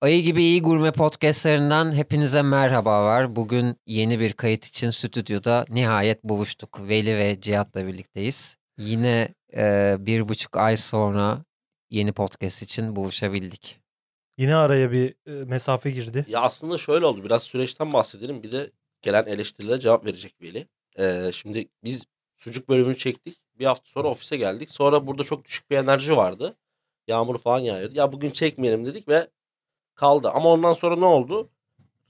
Ayı gibi iyi gurme podcastlerinden hepinize merhabalar. Bugün yeni bir kayıt için stüdyoda nihayet buluştuk. Veli ve Cihat'la birlikteyiz. Yine e, bir buçuk ay sonra yeni podcast için buluşabildik. Yine araya bir e, mesafe girdi. Ya aslında şöyle oldu. Biraz süreçten bahsedelim. Bir de gelen eleştirilere cevap verecek Veli. Ee, şimdi biz sucuk bölümünü çektik. Bir hafta sonra ofise geldik. Sonra burada çok düşük bir enerji vardı. Yağmur falan yağıyordu. Ya bugün çekmeyelim dedik ve kaldı. Ama ondan sonra ne oldu?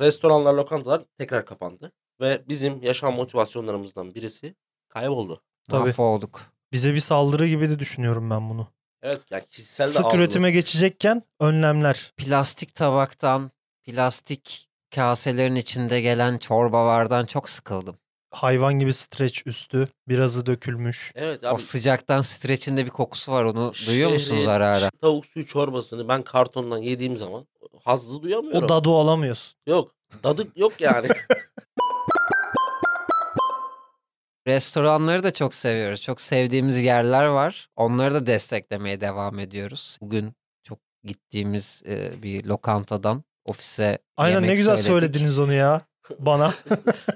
Restoranlar, lokantalar tekrar kapandı. Ve bizim yaşam motivasyonlarımızdan birisi kayboldu. Tabii. Mahvolduk. Bize bir saldırı gibi de düşünüyorum ben bunu. Evet yani kişisel de Sık algı. üretime geçecekken önlemler. Plastik tabaktan, plastik kaselerin içinde gelen çorbalardan çok sıkıldım. Hayvan gibi streç üstü, birazı dökülmüş. Evet o abi. sıcaktan streçinde bir kokusu var onu duyuyor musunuz şehrin ara ara? Tavuk suyu çorbasını ben kartondan yediğim zaman hazzı duyamıyorum. O dadu alamıyorsun. Yok. Dadık yok yani. Restoranları da çok seviyoruz. Çok sevdiğimiz yerler var. Onları da desteklemeye devam ediyoruz. Bugün çok gittiğimiz e, bir lokantadan ofise Aynen yemek ne güzel söyledik. söylediniz onu ya bana.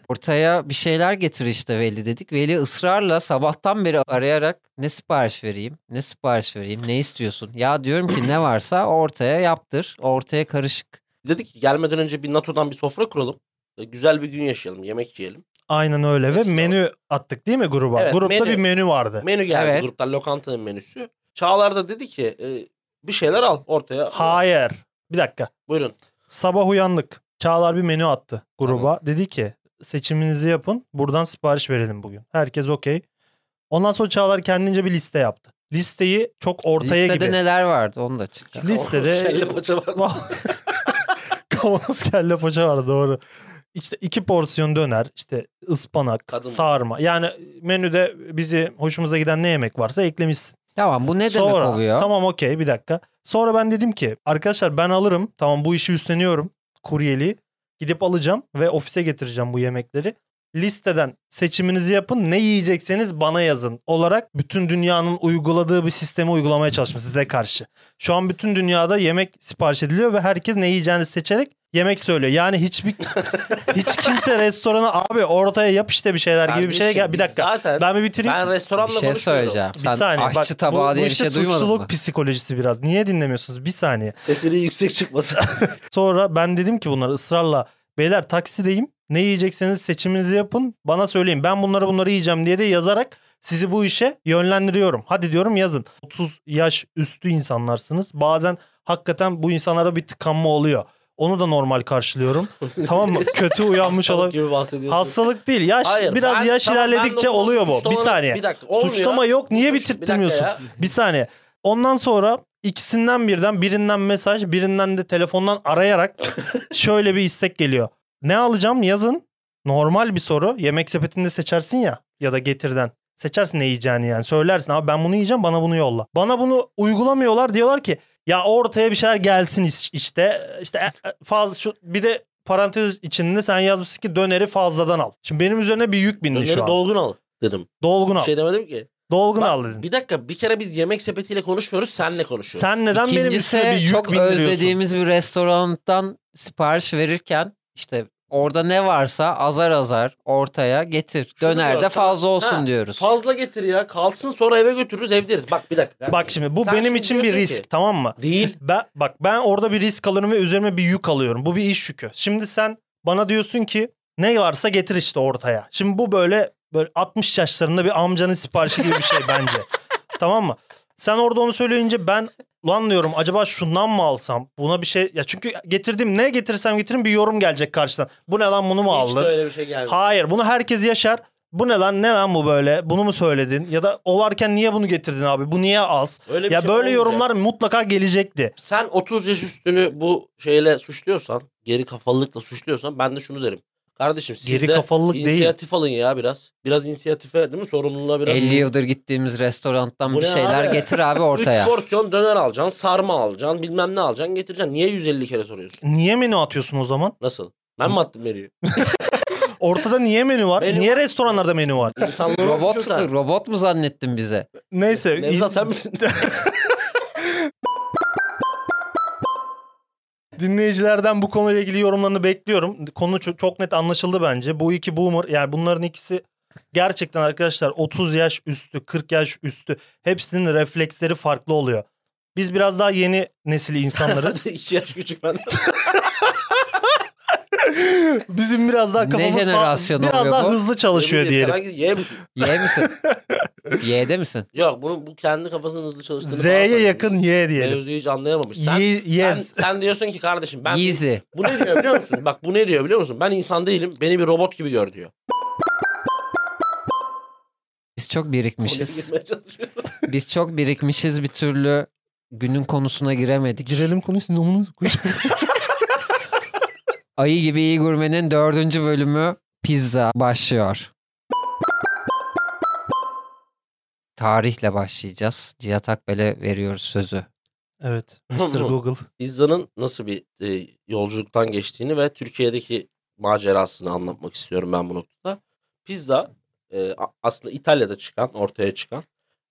Ortaya bir şeyler getir işte Veli dedik. Veli ısrarla sabahtan beri arayarak ne sipariş vereyim, ne sipariş vereyim, ne istiyorsun? Ya diyorum ki ne varsa ortaya yaptır. Ortaya karışık. Dedik ki gelmeden önce bir NATO'dan bir sofra kuralım. E, Güzel bir gün yaşayalım, yemek yiyelim. Aynen öyle ve Mesela- menü attık değil mi gruba? Evet, Grupta menü. bir menü vardı. Menü geldi Evet. gruptan lokantanın menüsü. Çağlar da dedi ki e, bir şeyler al ortaya. Hayır. Bir dakika. Buyurun. Sabah uyandık. Çağlar bir menü attı gruba. Dedi ki seçiminizi yapın. Buradan sipariş verelim bugün. Herkes okey. Ondan sonra Çağlar kendince bir liste yaptı. Listeyi çok ortaya Listede gibi. neler vardı onu da çıkar. Listede- Kelle paça var. Kavanoz kelle paça var doğru. İşte iki porsiyon döner, işte ıspanak, Kadın. sarma. Yani menüde bizi hoşumuza giden ne yemek varsa eklemişsin. Tamam bu ne demek Sonra, oluyor? Tamam okey bir dakika. Sonra ben dedim ki arkadaşlar ben alırım. Tamam bu işi üstleniyorum. Kuryeli. Gidip alacağım ve ofise getireceğim bu yemekleri. Listeden seçiminizi yapın. Ne yiyecekseniz bana yazın olarak bütün dünyanın uyguladığı bir sistemi uygulamaya çalışmış size karşı. Şu an bütün dünyada yemek sipariş ediliyor ve herkes ne yiyeceğini seçerek yemek söylüyor. Yani hiçbir hiç kimse restorana abi ortaya yap işte bir şeyler gibi bir şeye gel. Bir Kardeşim, biz dakika. Zaten ben, Ben bir bitireyim. restoranla bir şey konuşmuyorum. söyleyeceğim. Bir Sen saniye aşçı bak tabağı bu, diye bu bir işte şey duymadın suçluluk mı? psikolojisi biraz. Niye dinlemiyorsunuz? Bir saniye. Sesini yüksek çıkması. Sonra ben dedim ki bunlara ısrarla beyler taksideyim. Ne yiyecekseniz seçiminizi yapın. Bana söyleyin. Ben bunları bunları yiyeceğim diye de yazarak sizi bu işe yönlendiriyorum. Hadi diyorum yazın. 30 yaş üstü insanlarsınız. Bazen hakikaten bu insanlara bir tıkanma oluyor. Onu da normal karşılıyorum. tamam mı? Kötü uyanmış Hastalık olabilir. gibi bahsediyorsun. Hastalık değil. Yaş Hayır, biraz ben- yaş tamam, ben ilerledikçe doktorum, oluyor bu. Bir suçlama- saniye. Bir dakika. olmuyor. Suçlama yok. Niye Bir dakika bitirtmiyorsun? ya. Bir saniye. Ondan sonra ikisinden birden birinden mesaj birinden de telefondan arayarak şöyle bir istek geliyor. Ne alacağım yazın. Normal bir soru. Yemek sepetinde seçersin ya ya da getirden. Seçersin ne yiyeceğini yani. Söylersin abi ben bunu yiyeceğim bana bunu yolla. Bana bunu uygulamıyorlar diyorlar ki ya ortaya bir şeyler gelsin iş- işte. İşte e, e, fazla şu bir de parantez içinde sen yazmışsın ki döneri fazladan al. Şimdi benim üzerine bir yük bindi Döneri şu an. dolgun al dedim. Dolgun al. Şey demedim ki. Dolgun Bak, al dedin. Bir dakika bir kere biz yemek sepetiyle konuşmuyoruz senle konuşuyoruz. Sen neden benim üstüme bir İkincisi yük çok bindiriyorsun? özlediğimiz bir restorandan sipariş verirken işte orada ne varsa azar azar ortaya getir. Şunu Döner de diyorum, fazla tamam. olsun Ha, diyoruz. Fazla getir ya. Kalsın sonra eve götürürüz evderiz. Bak bir dakika. Bak şimdi bu Sen benim şimdi için bir diyorsun risk ki- tamam mı? Değil. Ben, bak ben orada bir risk alırım ve üzerime bir yük alıyorum. Bu bir iş yükü. Şimdi sen bana diyorsun ki ne varsa getir işte ortaya. Şimdi bu böyle böyle 60 yaşlarında bir amcanın siparişi gibi bir şey bence. tamam mı? Sen orada onu söyleyince ben lan diyorum acaba şundan mı alsam? Buna bir şey ya çünkü getirdim ne getirsem getirin bir yorum gelecek karşıdan. Bu ne lan bunu mu Hiç de aldın? öyle bir şey gelmedi. Hayır bunu herkes yaşar. Bu ne lan ne lan bu böyle? Bunu mu söyledin? Ya da o varken niye bunu getirdin abi? Bu niye az? Öyle bir ya şey böyle olmayacak. yorumlar mutlaka gelecekti. Sen 30 yaş üstünü bu şeyle suçluyorsan, geri kafalılıkla suçluyorsan ben de şunu derim. Kardeşim siz Geri de kafalılık değil. inisiyatif alın ya biraz. Biraz inisiyatife değil mi? Sorumluluğa biraz. 50 yıldır gittiğimiz restorandan Bu bir ne şeyler abi? getir abi ortaya. 3 porsiyon döner alacaksın, sarma alacaksın, bilmem ne alacaksın, getireceksin. Niye 150 kere soruyorsun? Niye menü atıyorsun o zaman? Nasıl? Ben mi attım menüyü? Ortada niye menü var? Menü niye var. restoranlarda menü var? İnsanlığı robot uçurtan. robot mu zannettin bize? Neyse. Nevzat sen misin? Dinleyicilerden bu konuyla ilgili yorumlarını bekliyorum. Konu ço- çok net anlaşıldı bence. Bu iki boomer yani bunların ikisi gerçekten arkadaşlar 30 yaş üstü 40 yaş üstü hepsinin refleksleri farklı oluyor. Biz biraz daha yeni nesil insanlarız. İki yaş küçük ben. Bizim biraz daha Ne kafamız fa- jenerasyon biraz oluyor daha bu? hızlı çalışıyor Yemin ederim, diyelim. herhangi- Ye misin? Y misin? Y'de misin? Yok bunu bu kendi kafasının hızlı çalıştığını falan Z'ye sanıyorum. yakın Y diyelim. Mevzuyu hiç anlayamamış. Sen, Y- sen, yes. sen diyorsun ki kardeşim ben Yeezy. bu ne diyor biliyor musun? Bak bu ne diyor biliyor musun? Ben insan değilim. Beni bir robot gibi gör diyor. Biz çok Oraya birikmişiz. gitmeye çalışıyor. Biz çok birikmişiz bir türlü günün konusuna giremedik. Girelim konusunu onu Ayı gibi iyi gurmenin dördüncü bölümü pizza başlıyor. Tarihle başlayacağız. Cihat Akbel'e veriyoruz sözü. Evet. Mr. Google. Pizza'nın nasıl bir e, yolculuktan geçtiğini ve Türkiye'deki macerasını anlatmak istiyorum ben bu noktada. Pizza e, a- aslında İtalya'da çıkan, ortaya çıkan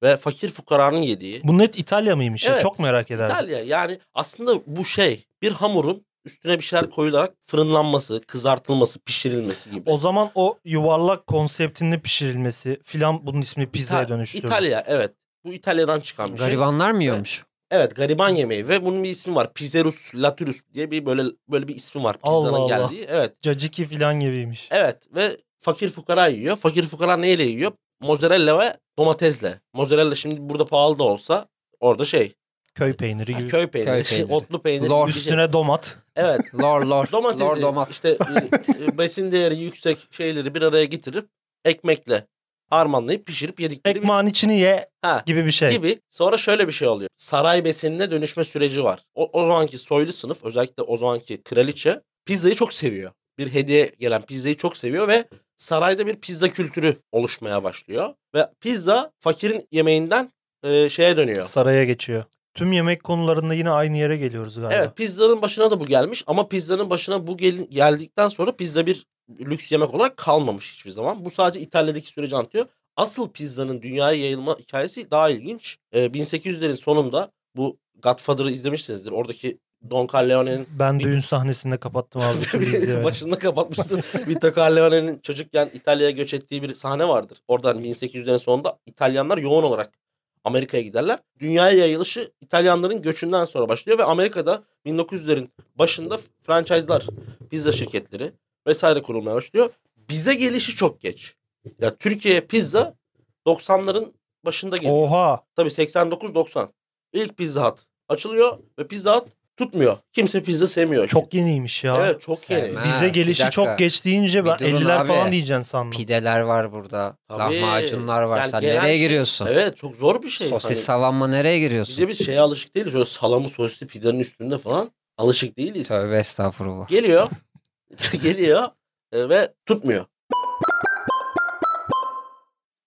ve fakir fukaranın yediği. Bu net İtalya mıymış ya? Evet. Çok merak ederdim. İtalya yani aslında bu şey bir hamurun üstüne bir şeyler koyularak fırınlanması, kızartılması, pişirilmesi gibi. O zaman o yuvarlak konseptinin pişirilmesi filan bunun ismini pizzaya İta- dönüştürdü. İtalya evet. Bu İtalya'dan çıkan bir şey. Garibanlar mı yiyormuş? Evet gariban yemeği ve bunun bir ismi var. Pizzerus Laturus diye bir böyle böyle bir ismi var pizzanın Allah Allah. geldiği. Evet. Caciki filan gibiymiş. Evet ve fakir fukara yiyor. Fakir fukara neyle yiyor? Mozzarella ve domatesle. Mozzarella şimdi burada pahalı da olsa orada şey Köy peyniri ha, gibi. köy peyniri, Köy şey, peyniri. otlu peynir. Lor. gibi bir şey. Üstüne domat. Evet. Lor lor. Domatesi lor domat. işte e, e, besin değeri yüksek şeyleri bir araya getirip ekmekle harmanlayıp pişirip yedikleri bir- Ekmağın içini ye Ha, gibi bir şey. gibi. Sonra şöyle bir şey oluyor. Saray besinine dönüşme süreci var. O, o zamanki soylu sınıf özellikle o zamanki kraliçe pizzayı çok seviyor. Bir hediye gelen pizzayı çok seviyor ve sarayda bir pizza kültürü oluşmaya başlıyor. Ve pizza fakirin yemeğinden e, şeye dönüyor. Saraya geçiyor. Tüm yemek konularında yine aynı yere geliyoruz galiba. Evet pizzanın başına da bu gelmiş ama pizzanın başına bu gel- geldikten sonra pizza bir lüks yemek olarak kalmamış hiçbir zaman. Bu sadece İtalya'daki süreci anlatıyor. Asıl pizzanın dünyaya yayılma hikayesi daha ilginç. Ee, 1800'lerin sonunda bu Godfather'ı izlemişsinizdir. Oradaki Don Corleone'nin Ben düğün sahnesinde kapattım abi bütün diziyi. başında kapatmıştı. Vito Corleone'nin çocukken İtalya'ya göç ettiği bir sahne vardır. Oradan 1800'lerin sonunda İtalyanlar yoğun olarak Amerika'ya giderler. Dünyaya yayılışı İtalyanların göçünden sonra başlıyor ve Amerika'da 1900'lerin başında franchise'lar, pizza şirketleri vesaire kurulmaya başlıyor. Bize gelişi çok geç. Ya Türkiye'ye pizza 90'ların başında geliyor. Oha. Tabii 89-90. İlk Pizza Hut açılıyor ve Pizza Hut tutmuyor. Kimse pizza sevmiyor. Çok yeniymiş ya. Evet çok Sevmez. yeni. Ha, Bize bir gelişi dakika. çok geç deyince ben Bir durun 50'ler abi. falan diyeceksin sandım. Pideler var burada. Tabii. Lahmacunlar var. Yani Sen gelen nereye şey- giriyorsun? Evet çok zor bir şey. Sosis Hani savanma nereye giriyorsun? bize biz şeye alışık değiliz. Öyle salamı sosisli pidenin üstünde falan alışık değiliz. Tövbe estağfurullah. Geliyor. geliyor e, ve tutmuyor.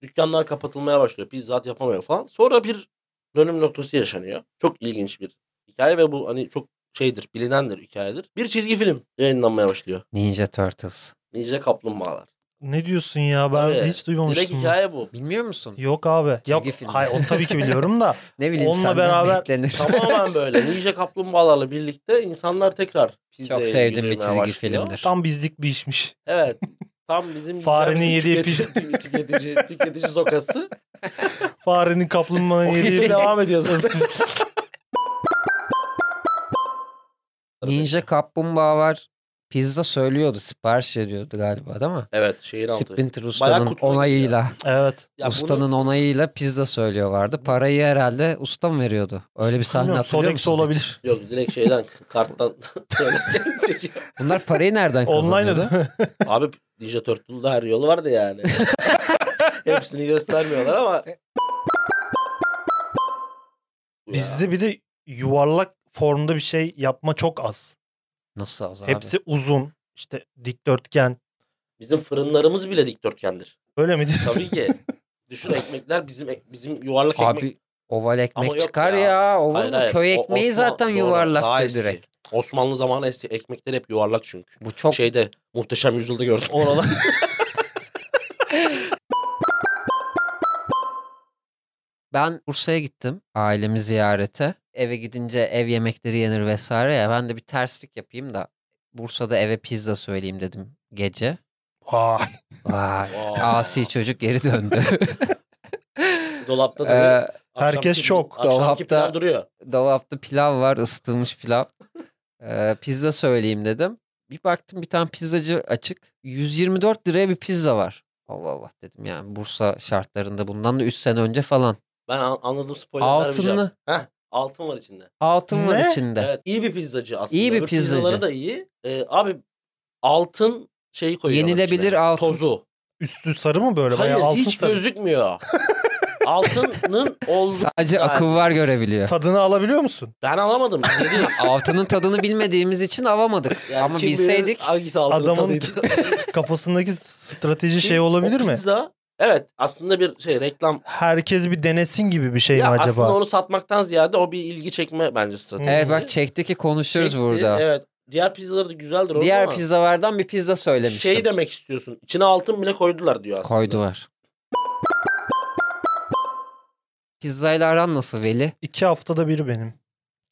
Dükkanlar kapatılmaya başlıyor. Bizzat yapamıyor falan. Sonra bir dönüm noktası yaşanıyor. Çok ilginç bir hikaye ve bu hani çok şeydir, bilinendir hikayedir. Bir çizgi film yayınlanmaya başlıyor. Ninja Turtles. Ninja Kaplumbağalar. Ne diyorsun ya ben Evet. hiç Direkt duymamıştım. bunu. hikaye bu. Bilmiyor musun? Yok abi. Yok. Çizgi film. Hayır onu tabii ki biliyorum da. Ne bileyim Onunla senden beraber- beklenir. Tamamen böyle. Ninja Kaplumbağalarla birlikte insanlar tekrar pizzaya Çok sevdiğim bir yürümeye çizgi başlıyor. filmdir. Tam bizlik bir işmiş. Evet. Tam bizim Farenin yiyeceğimiz yediği tüketici, tüketici, tüketici sokası. Farenin kaplumbağanın O yediği gibi devam ediyorsun. Ninja Kaplumbağa var. Pizza söylüyordu, sipariş veriyordu galiba değil mi? Evet şehir altı. Splinter Usta'nın kutlu onayıyla, evet. Ya bunu- ustanın onayıyla pizza söylüyor vardı. Parayı herhalde usta mı veriyordu? Öyle bir sahne Bilmiyorum, hatırlıyor Sodexo musunuz? hiç? olabilir. Yok direkt şeyden karttan söylerken çekiyor. Bunlar parayı nereden Online kazanıyordu? öde. Abi Ninja Turtle'da her yolu vardı yani. Hepsini göstermiyorlar ama. E- Bu ya. Bizde bir de yuvarlak formda bir şey yapma çok az. Nasıl az Hepsi uzun. işte dikdörtgen. Bizim fırınlarımız bile dikdörtgendir. Öyle midir? Tabii ki. Düşün ekmekler bizim ek- bizim yuvarlak abi? ekmek. Abi oval ekmek Ama yok çıkar ya. ya. Oval Hayır, mı? hayır. Köy O- ekmeği Osman- zaten doğru, daha yuvarlaktı eski. direkt. Osmanlı zamanı es- ekmekler hep yuvarlak çünkü. Bu çok Şeyde muhteşem yüzyılda gördüm. Oralar. Ben Bursa'ya gittim ailemi ziyarete. eve gidince ev yemekleri yenir vesaire ya. Ben de bir terslik yapayım da Bursa'da eve pizza söyleyeyim dedim gece. Vay. Vay. Vay. Asi çocuk geri döndü. Dolapta duruyor. Ee, herkes Akşamki- şok. Akşamki Dolapta- pilav duruyor. dolapta pilav var ısıtılmış pilav. Ee, pizza söyleyeyim dedim. Bir baktım bir tane pizzacı açık. 124 liraya bir pizza var. Allah Allah dedim yani Bursa şartlarında bundan da 3 sene önce falan. Ben an- anladım spoiler vermeyeceğim. Altınlı. Heh, altın var içinde. Altın var Ne? içinde. Evet iyi bir pizzacı aslında. İyi bir Öbür pizzaları pizzacı. da iyi. Ee, abi altın şeyi koyuyorlar Yenilebilir içine. altın. Tozu. Üstü sarı mı böyle? Hayır Bayağı altın hiç sarı. gözükmüyor. Altının olduğu. Sadece Yani akıl var görebiliyor. Tadını alabiliyor musun? Ben alamadım. Dedi. Altının tadını bilmediğimiz için avamadık. Yani Ama kim bilir bilseydik Hangisi altın Adamın tadıydı. Kafasındaki strateji şey Ki olabilir o mi? Pizza evet aslında bir şey reklam. Herkes bir denesin gibi bir şey ya mi aslında acaba? onu satmaktan ziyade o bir ilgi çekme bence stratejisi. Evet bak çekti ki konuşuyoruz Çekti, burada. Evet. Diğer pizzaları da güzeldir orada Diğer ama pizzalardan bir pizza söylemiştim. şey demek istiyorsun. İçine altın bile koydular diyor aslında. Koydular. Pizzayla aran nasıl Veli? İki haftada bir benim.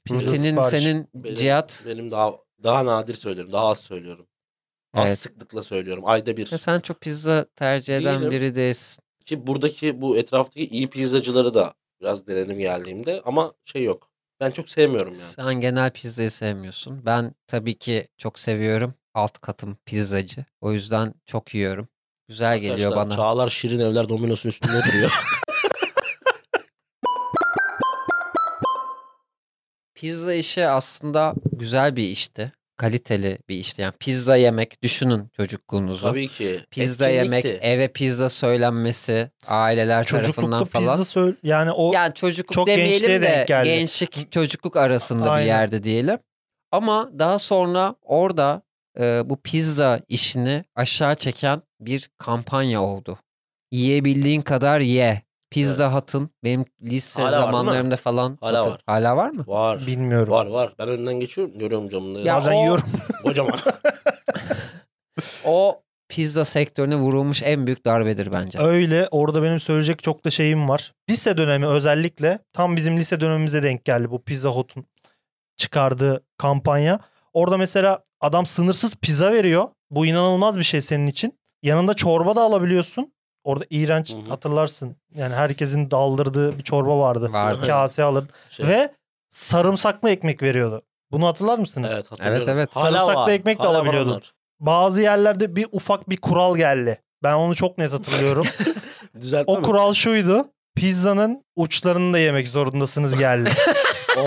Pizza Senin, siparişi. senin Benim- Cihat. Benim daha daha nadir söylüyorum. Daha az söylüyorum. Az Evet. sıklıkla söylüyorum. Ayda bir. Ya Sen çok pizza tercih eden Değilim. biri değilsin. Ki buradaki bu etraftaki iyi pizzacıları da biraz denedim geldiğimde ama şey yok. Ben çok sevmiyorum yani. Sen genel pizzayı sevmiyorsun. Ben tabii ki çok seviyorum. Alt katım pizzacı. O yüzden çok yiyorum. Güzel geliyor Arkadaşlar, bana. Çağlar Şirin Evler Domino's'un üstünde duruyor. Pizza işi aslında güzel bir işti. Kaliteli bir işti. Yani pizza yemek düşünün çocukluğunuzu. Tabii ki. Pizza yemek, Etkinlikti. e, eve pizza söylenmesi, aileler Çocuklukta tarafından pizza falan. söyle yani o Yani çocukluk çok gençliğe demeyelim de denk geldi. gençlik çocukluk arasında Aynen. bir yerde diyelim. Ama daha sonra orada e, bu pizza işini aşağı çeken bir kampanya oldu. Yiyebildiğin kadar ye. Pizza Hut'ın benim lise Hala var değil mi? zamanlarımda falan Hala hatır- var. hala var mı? Var. bilmiyorum. Var var. Ben önünden geçiyorum. Görüyorum camını. Ya Bazen o- yiyorum. Kocaman. O pizza sektörüne vurulmuş en büyük darbedir bence. Öyle orada benim söyleyecek çok da şeyim var. Lise dönemi özellikle tam bizim lise dönemimize denk geldi bu Pizza Hut'un çıkardığı kampanya. Orada mesela adam sınırsız pizza veriyor. Bu inanılmaz bir şey senin için. Yanında çorba da alabiliyorsun. Orada iğrenç Hı hı. hatırlarsın. Yani herkesin daldırdığı bir çorba vardı. Vardı. Kase alır Şey, ve sarımsaklı ekmek veriyordu. Bunu hatırlar mısınız? evet, hatırlıyorum. Evet, evet. Sarımsaklı var, ekmek de hala var alabiliyordun. onlar. Bazı yerlerde bir ufak bir kural geldi. Ben onu çok net hatırlıyorum. Düzeltme O mi? kural şuydu. Pizzanın uçlarını da yemek zorundasınız geldi.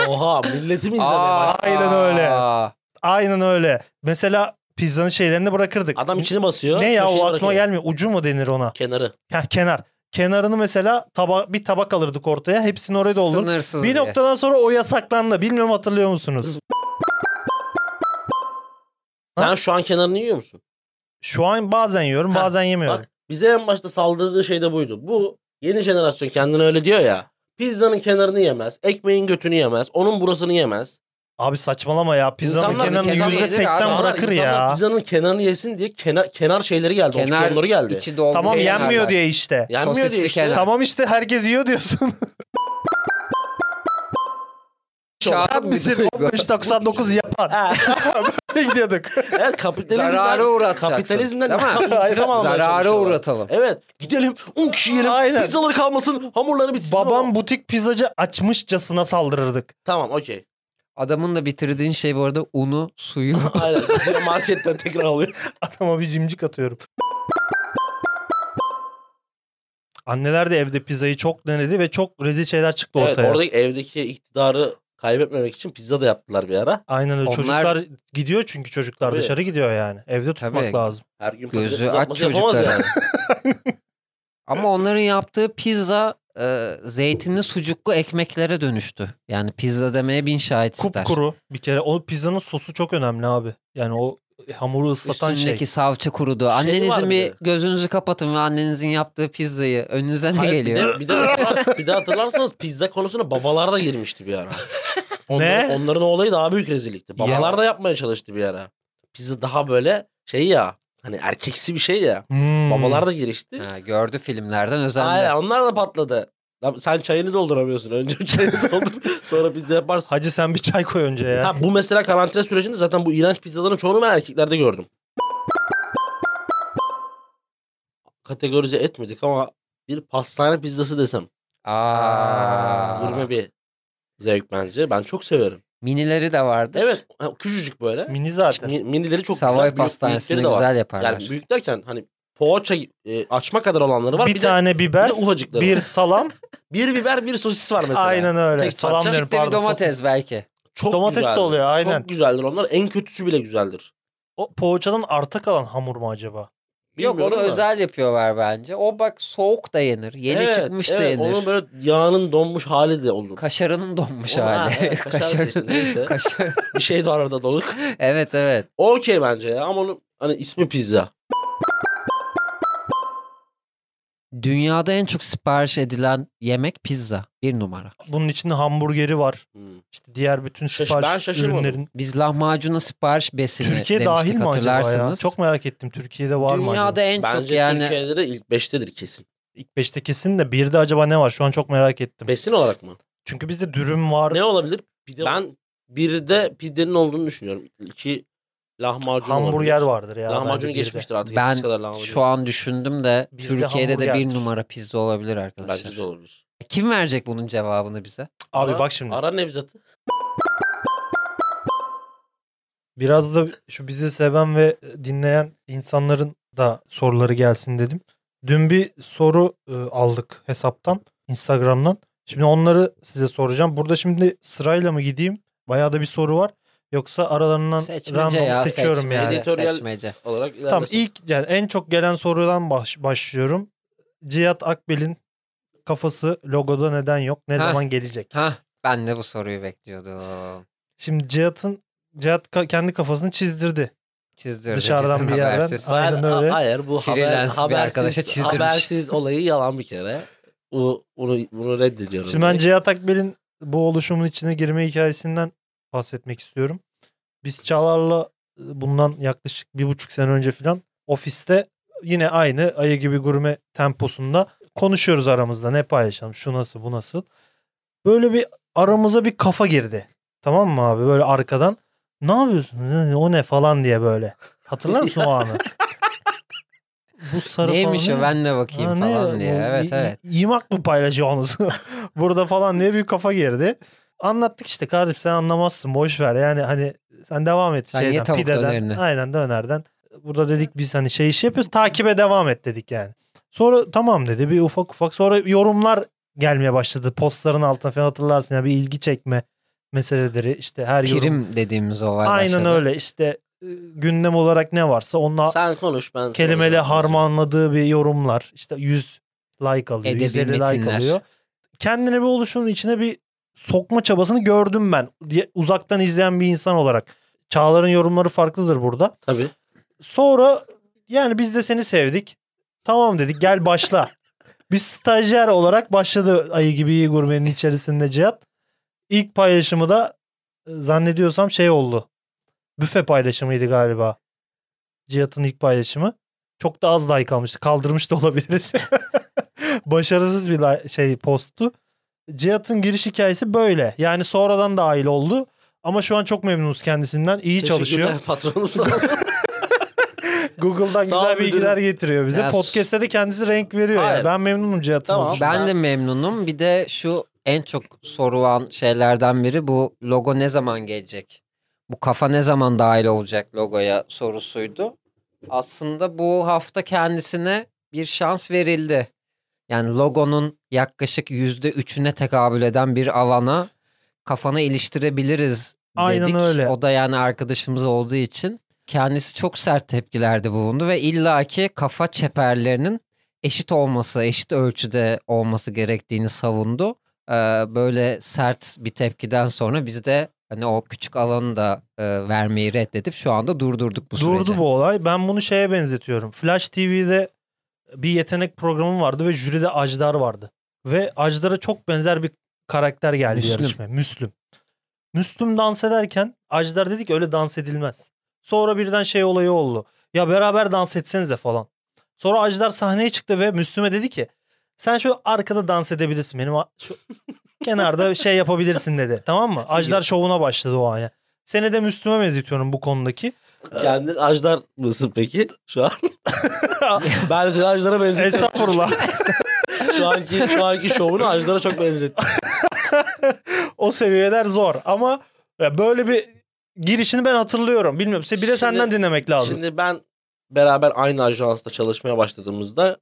Oha milletimiz de Aa, aynen öyle. aa. Aynen öyle. Mesela pizzanın şeylerini bırakırdık. Adam içini basıyor. Ne ya köşeyi o aklıma şey bırakıyor. gelmiyor. Ucu mu denir ona? Kenarı. Heh, kenar. Kenarını mesela taba bir tabak alırdık ortaya. Hepsini oraya doldurduk. Sınırsız Bir diye. noktadan sonra o yasaklandı. Bilmiyorum hatırlıyor musunuz? Ha? Sen şu an kenarını yiyor musun? Şu an bazen yiyorum Ha, bazen yemiyorum. Bak bize en başta saldırdığı şey de buydu. Bu yeni jenerasyon kendini öyle diyor ya. Pizzanın kenarını yemez. Ekmeğin götünü yemez. Onun burasını yemez. Abi saçmalama ya. Pizzanın İnsanlar kenarını bir kenar yüzde yedir abi. seksen Adamlar, bırakır insanlar ya. pizzanın kenarını yesin diye kenar, kenar şeyleri geldi. Kenar- opsiyonları geldi. İçi doldu. Tamam diye yenmiyor yerler. diye işte. Yenmiyor Sosisli diye işte. kenar. Tamam işte herkes yiyor diyorsun. Sen Şahit misin? 1599 yapan. Ha, Böyle gidiyorduk. evet kapitalizmden. Zarara uğratacaksın. Kapitalizmden Değil mi? intikam almaya Zarara çalışıyorlar. uğratalım. Evet gidelim 10 kişi yiyelim. Aynen. Pizzaları kalmasın hamurları bitsin. Babam butik pizzacı açmışçasına saldırırdık. Tamam okey. Adamın da bitirdiğin şey bu arada unu, suyu. Aynen. Gidiyor marketten tekrar alıyor. Adama bir cimcik atıyorum. Anneler de evde pizzayı çok denedi ve çok rezil şeyler çıktı Evet ortaya. oradaki evdeki iktidarı kaybetmemek için pizza da yaptılar bir ara. Aynen öyle. Onlar- Çocuklar gidiyor çünkü çocuklar Tabii. dışarı gidiyor yani. Evde tutmak Tabii. lazım. Her gün Gözü patates aç kızartması yapamaz çocuklara. yani. Ama onların yaptığı pizza e, zeytinli sucuklu ekmeklere dönüştü. Yani pizza demeye bin şahit ister. Kupkuru bir kere. O pizzanın sosu çok önemli abi. Yani o hamuru ıslatan Üstündeki şey. salça kurudu. Şey Annenizin var bir bir de. gözünüzü kapatın ve annenizin yaptığı pizzayı önünüze ne Hayır, geliyor? Bir de, bir, de, bir de hatırlarsanız pizza konusuna babalar da girmişti bir ara. Onların, Ne? onların o olayı daha büyük rezillikti. Babalar Ya. da yapmaya çalıştı bir ara. Pizza daha böyle şey ya hani erkeksi bir şey ya. Hmm. Babalar da girişti. Ha, gördü filmlerden özendi. Aynen onlar da patladı. Lan sen çayını dolduramıyorsun. Önce çayını doldur. sonra pizza yaparsın. Hacı sen bir çay koy önce ya. Ha, bu mesela karantina sürecinde zaten bu iğrenç pizzaların çoğunu ben erkeklerde gördüm. Kategorize etmedik ama bir pastane pizzası desem. Aa. Gurme bir zevk bence. Ben çok severim. Minileri de vardı. Evet. ha, Küçücük böyle. Mini zaten. Mi- Minileri çok Savoy güzel. büyük- pastanesinde büyükleri de var. güzel yaparlar. Yani büyük derken hani poğaça e, açma kadar olanları var. bir, Bir, de, tane biber, bir de ufacıkları bir var. salam. Bir biber bir sosis var mesela. aynen öyle. Tek salam parça. diyorum Küçük de bir pardon. domates sosis. belki. Çok Domates de güzeldir. oluyor, aynen. Çok güzeldir onlar. En kötüsü bile güzeldir. O poğaçadan arta kalan hamur mu acaba? Yok onu Bilmiyorum da. özel yapıyorlar bence. O bak soğuk da yenir. Yeni Evet, çıkmış evet, da yenir. Onun böyle yağının donmuş hali de olur. Kaşarının donmuş Onu- ha, hali. evet, kaşar seçtin, neyse. kaşar. bir şey de arada doluk. evet evet. Okey bence ya ama onun hani ismi pizza. Dünyada en çok sipariş edilen yemek pizza. Bir numara. Bunun içinde hamburgeri var. Hmm. İşte diğer bütün Şaş- sipariş ben şaşırmadım. ürünlerin. Biz lahmacuna sipariş besini Türkiye demiştik dahil mi acaba hatırlarsınız. ya? Çok merak ettim. Türkiye'de var mı acaba? Dünyada en çok Bence yani Türkiye'de de ilk 5'tedir kesin. İlk 5'te kesin de bir de acaba ne var? Şu an çok merak ettim. Besin olarak mı? Çünkü bizde dürüm var, Ne olabilir? ben birde pidenin olduğunu düşünüyorum. İki lahmacun hamburger olabilir. vardır ya. bence Lahmacunu birde. geçmiştir artık. Ben eskisi kadar lahmacun. şu an düşündüm de Bir de Türkiye'de de bir hamburger. numara pizza olabilir arkadaşlar. Bence de olabilir. Kim verecek bunun cevabını bize? Abi Ara- bak şimdi. Ara Nevzat'ı. Biraz da şu bizi seven ve dinleyen insanların da soruları gelsin dedim. Dün bir soru e, aldık hesaptan, Instagram'dan. Şimdi onları size soracağım. Burada şimdi sırayla mı gideyim? Bayağı da bir soru var. Yoksa aralarından Seçmece random ya seçiyorum seçmece, yani. Editoryal- seçmece. olarak ilerlesin. Tamam ilk yani en çok gelen sorudan baş- başlıyorum. Cihat Akbel'in kafası logoda neden yok? Ne Heh. zaman gelecek? Hah ben de bu soruyu bekliyordum. Şimdi Cihat'ın Cihat ka- kendi kafasını çizdirdi. Çizdirdi Dışarıdan bizim bir yerden. habersiz. Ay- Aynen Ha- öyle. Hayır bu haber, Freelance bir arkadaşa habersiz, çizdirmiş. habersiz olayı yalan bir kere. Bu, bunu, bunu reddediyorum. Şimdi ben direkt. Cihat Akbel'in bu oluşumun içine girme hikayesinden bahsetmek istiyorum. Biz Çağlar'la e, bundan yaklaşık bir buçuk sene önce falan ofiste yine aynı ayı gibi gurme temposunda konuşuyoruz aramızda. Ne paylaşalım şu nasıl bu nasıl. Böyle bir aramıza bir kafa girdi. Tamam mı abi böyle arkadan ne yapıyorsun "Hı, o ne falan diye böyle. Hatırlar mısın o anı? bu sarı Neymiş falan o ben de bakayım Ha, ne falan ya, diye. bu Evet i- i- evet. İyimak mı paylaşıyorsunuz? Burada falan diye bir kafa girdi. Anlattık işte kardeşim sen anlamazsın boş ver. Yani hani sen devam et Sen ye şeyden tavuk pideden. dönerini. Aynen dönerden. Burada dedik biz hani şey iş yapıyoruz takibe devam et dedik yani. Sonra tamam dedi bir ufak ufak sonra yorumlar gelmeye başladı. Postların altına falan hatırlarsın ya bir ilgi çekme meseleleri işte her yorum. Prim dediğimiz olay Aynen başladı. öyle işte e, gündem olarak ne varsa onunla sen konuş ben kelimeli soracağım. harmanladığı bir yorumlar. İşte 100 like alıyor, Edebi 150 like metinler. alıyor. Kendini bir oluşumun içine bir sokma çabasını gördüm ben. diye- Uzaktan izleyen bir insan olarak. Çağlar'ın yorumları farklıdır burada. Tabii. Sonra yani biz de seni sevdik. Tamam dedik gel başla. Biz stajyer olarak başladı Ayı Gibi İyi Gurme'nin içerisinde Cihat. İlk paylaşımı da e, zannediyorsam şey oldu. Büfe paylaşımıydı galiba. Cihat'ın ilk paylaşımı. Çok da az like almıştı. Kaldırmış da olabiliriz. Başarısız bir la- şey posttu. Cihat'ın giriş hikayesi böyle. Yani sonradan da aile oldu. Ama şu an çok memnunuz kendisinden. İyi çalışıyor. Teşekkürler patronum sağ ol. Google'dan Sağ ol güzel müdürüm. bilgiler getiriyor bize. Ya sus. Podcast'te de kendisi renk veriyor ya. Hayır. Ben memnunum Cihat'ın Tamam. oluşundan. Ben de memnunum. Bir de şu en çok sorulan şeylerden biri bu logo ne zaman gelecek? Bu kafa ne zaman dahil olacak logoya sorusuydu. Aslında bu hafta kendisine bir şans verildi. Yani logonun yaklaşık yüzde üçüne tekabül eden bir alana kafanı iliştirebiliriz dedik. Aynen öyle. O da yani arkadaşımız olduğu için kendisi çok sert tepkilerde bulundu ve illaki kafa çeperlerinin eşit olması, eşit ölçüde olması gerektiğini savundu. Ee, böyle sert bir tepkiden sonra biz de hani o küçük alanı da e, vermeyi reddedip şu anda durdurduk bu Durdu süreci. bu olay. Ben bunu şeye benzetiyorum. Flash TV'de bir yetenek programı vardı ve jüride Ajdar vardı. Ve Ajdar'a çok benzer bir karakter geldi Müslüm. yarışmaya. Müslüm. Müslüm dans ederken Ajdar dedi ki öyle dans edilmez. Sonra birden şey olayı oldu. Ya beraber dans etsenize falan. Sonra Ajdar sahneye çıktı ve Müslüm'e dedi ki Sen şu arkada dans edebilirsin. Benim a- şu kenarda şey yapabilirsin dedi. Tamam mı? Ajdar şovuna başladı o an ya. Seni de Müslüme benzetiyorum bu konudaki. Kendin ajdar mısın peki şu an? ben seni ajdara benzettim. Estağfurullah. şu anki şu anki şovunu ajdara çok benzettim. o seviyeler zor ama ya böyle bir girişini ben hatırlıyorum. Bilmiyorum. Bir de Şimdi- senden dinlemek lazım. Şimdi ben beraber aynı ajansta çalışmaya başladığımızda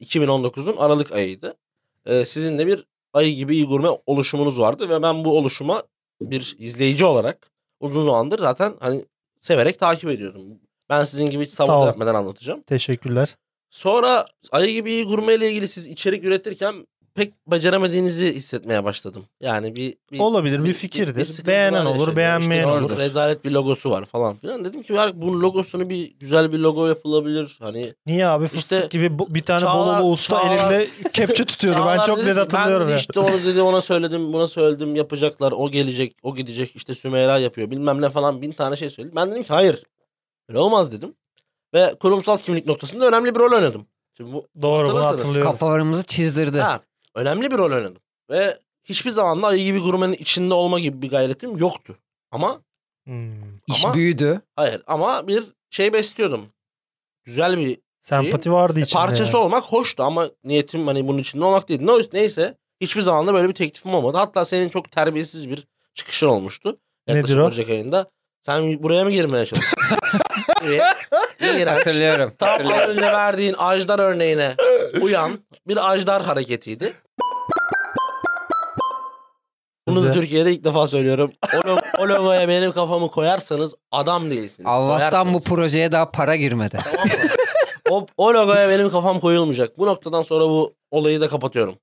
2019'un Aralık ayıydı. Ee, sizinle bir ayı gibi iyi gurme oluşumunuz vardı ve ben bu oluşuma bir izleyici olarak uzun zamandır zaten hani severek takip ediyorum. Ben sizin gibi hiç Sağ ol. savunma yapmadan anlatacağım. Teşekkürler. Sonra ayı gibi iyi gurme ile ilgili siz içerik üretirken pek beceremediğinizi hissetmeye başladım. Yani bir, bir Olabilir bir bir fikirdir. sıkıntı var Beğenen ya olur, şeyde. beğenmeyen İşte olur. orada Rezalet bir logosu var falan filan. Dedim ki ya bunun logosunu bir güzel bir logo yapılabilir. Hani Niye abi İşte fıstık gibi bu- bir tane Çağlar- Bolulu usta Çağlar- elinde kepçe tutuyordu. ben Çağlar çok dedi net ki, hatırlıyorum Ben ya. dedi işte onu dedi ona söyledim buna söyledim yapacaklar o gelecek o gidecek işte Sümeyra yapıyor bilmem ne falan bin tane şey söyledi. Ben dedim ki hayır öyle olmaz dedim. Ve kurumsal kimlik noktasında önemli bir rol oynadım. Şimdi bu Doğru bunu Hatırlarsınız. hatırlıyorum. Kafalarımızı çizdirdi. Ha, önemli bir rol oynadım. Ve hiçbir zaman da ayı gibi gurmenin içinde olma gibi bir gayretim yoktu. Ama Hmm. İş ama- büyüdü. hayır ama bir şey besliyordum. Güzel bir Şey, Sempati vardı içinde. parçası yani. olmak hoştu ama niyetim hani bunun içinde olmak değildi. Ne- Neyse hiçbir zaman da böyle bir teklifim olmadı. Hatta senin çok terbiyesiz bir çıkışın olmuştu. Yaklaşık Nedir o? Ocak ayında. Sen buraya mı girmeye çalışıyorsun? Gibi. İğrenç. Hatırlıyorum. Tam az hatırlıyorum. önce verdiğin ajdar örneğine uyan bir ajdar hareketiydi. Bunu da Güzel. Türkiye'de ilk defa söylüyorum. O, lo- o logoya benim kafamı koyarsanız adam değilsiniz. Allah'tan bu Koyarsanız. projeye daha para girmedi. Tamam mı? o, o logoya benim kafam koyulmayacak. Bu noktadan sonra bu olayı da kapatıyorum.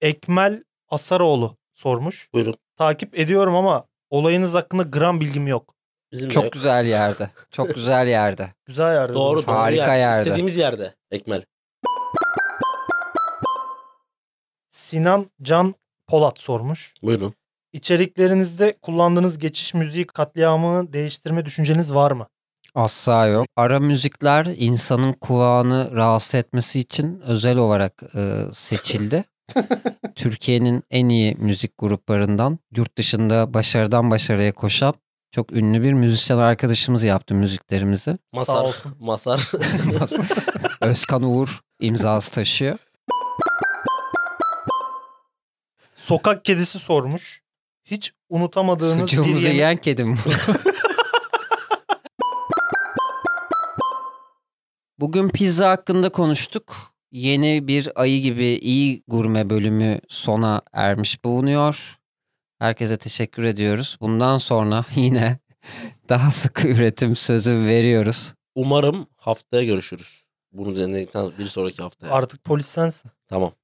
Ekmel Asaroğlu sormuş. Buyurun. Takip ediyorum ama olayınız hakkında gram bilgim yok. Bizim de Çok yok. güzel yerde. Çok güzel yerde. Güzel yerde. Doğru, bulmuş. doğru Harika yer. yerde. İstediğimiz yerde Ekmel. Sinan Can Polat sormuş. Buyurun. İçeriklerinizde kullandığınız geçiş müziği katliamını değiştirme düşünceniz var mı? Asla yok. Ara müzikler insanın kulağını rahatsız etmesi için özel olarak e, seçildi. Türkiye'nin en iyi müzik gruplarından, yurt dışında başarıdan başarıya koşan çok ünlü bir müzisyen arkadaşımız yaptı müziklerimizi. Masar. Sağ olsun. Masar. Özkan Uğur imzası taşıyor. Sokak kedisi sormuş. Hiç unutamadığınız bir Sucuğumuzu yemek... yiyen kedim. Bugün pizza hakkında konuştuk. Yeni bir ayı gibi iyi gurme bölümü sona ermiş bulunuyor. Herkese teşekkür ediyoruz. Bundan sonra yine daha sıkı üretim sözü veriyoruz. Umarım haftaya görüşürüz. Bunu denedikten bir sonraki haftaya. Artık polis sensin. tamam.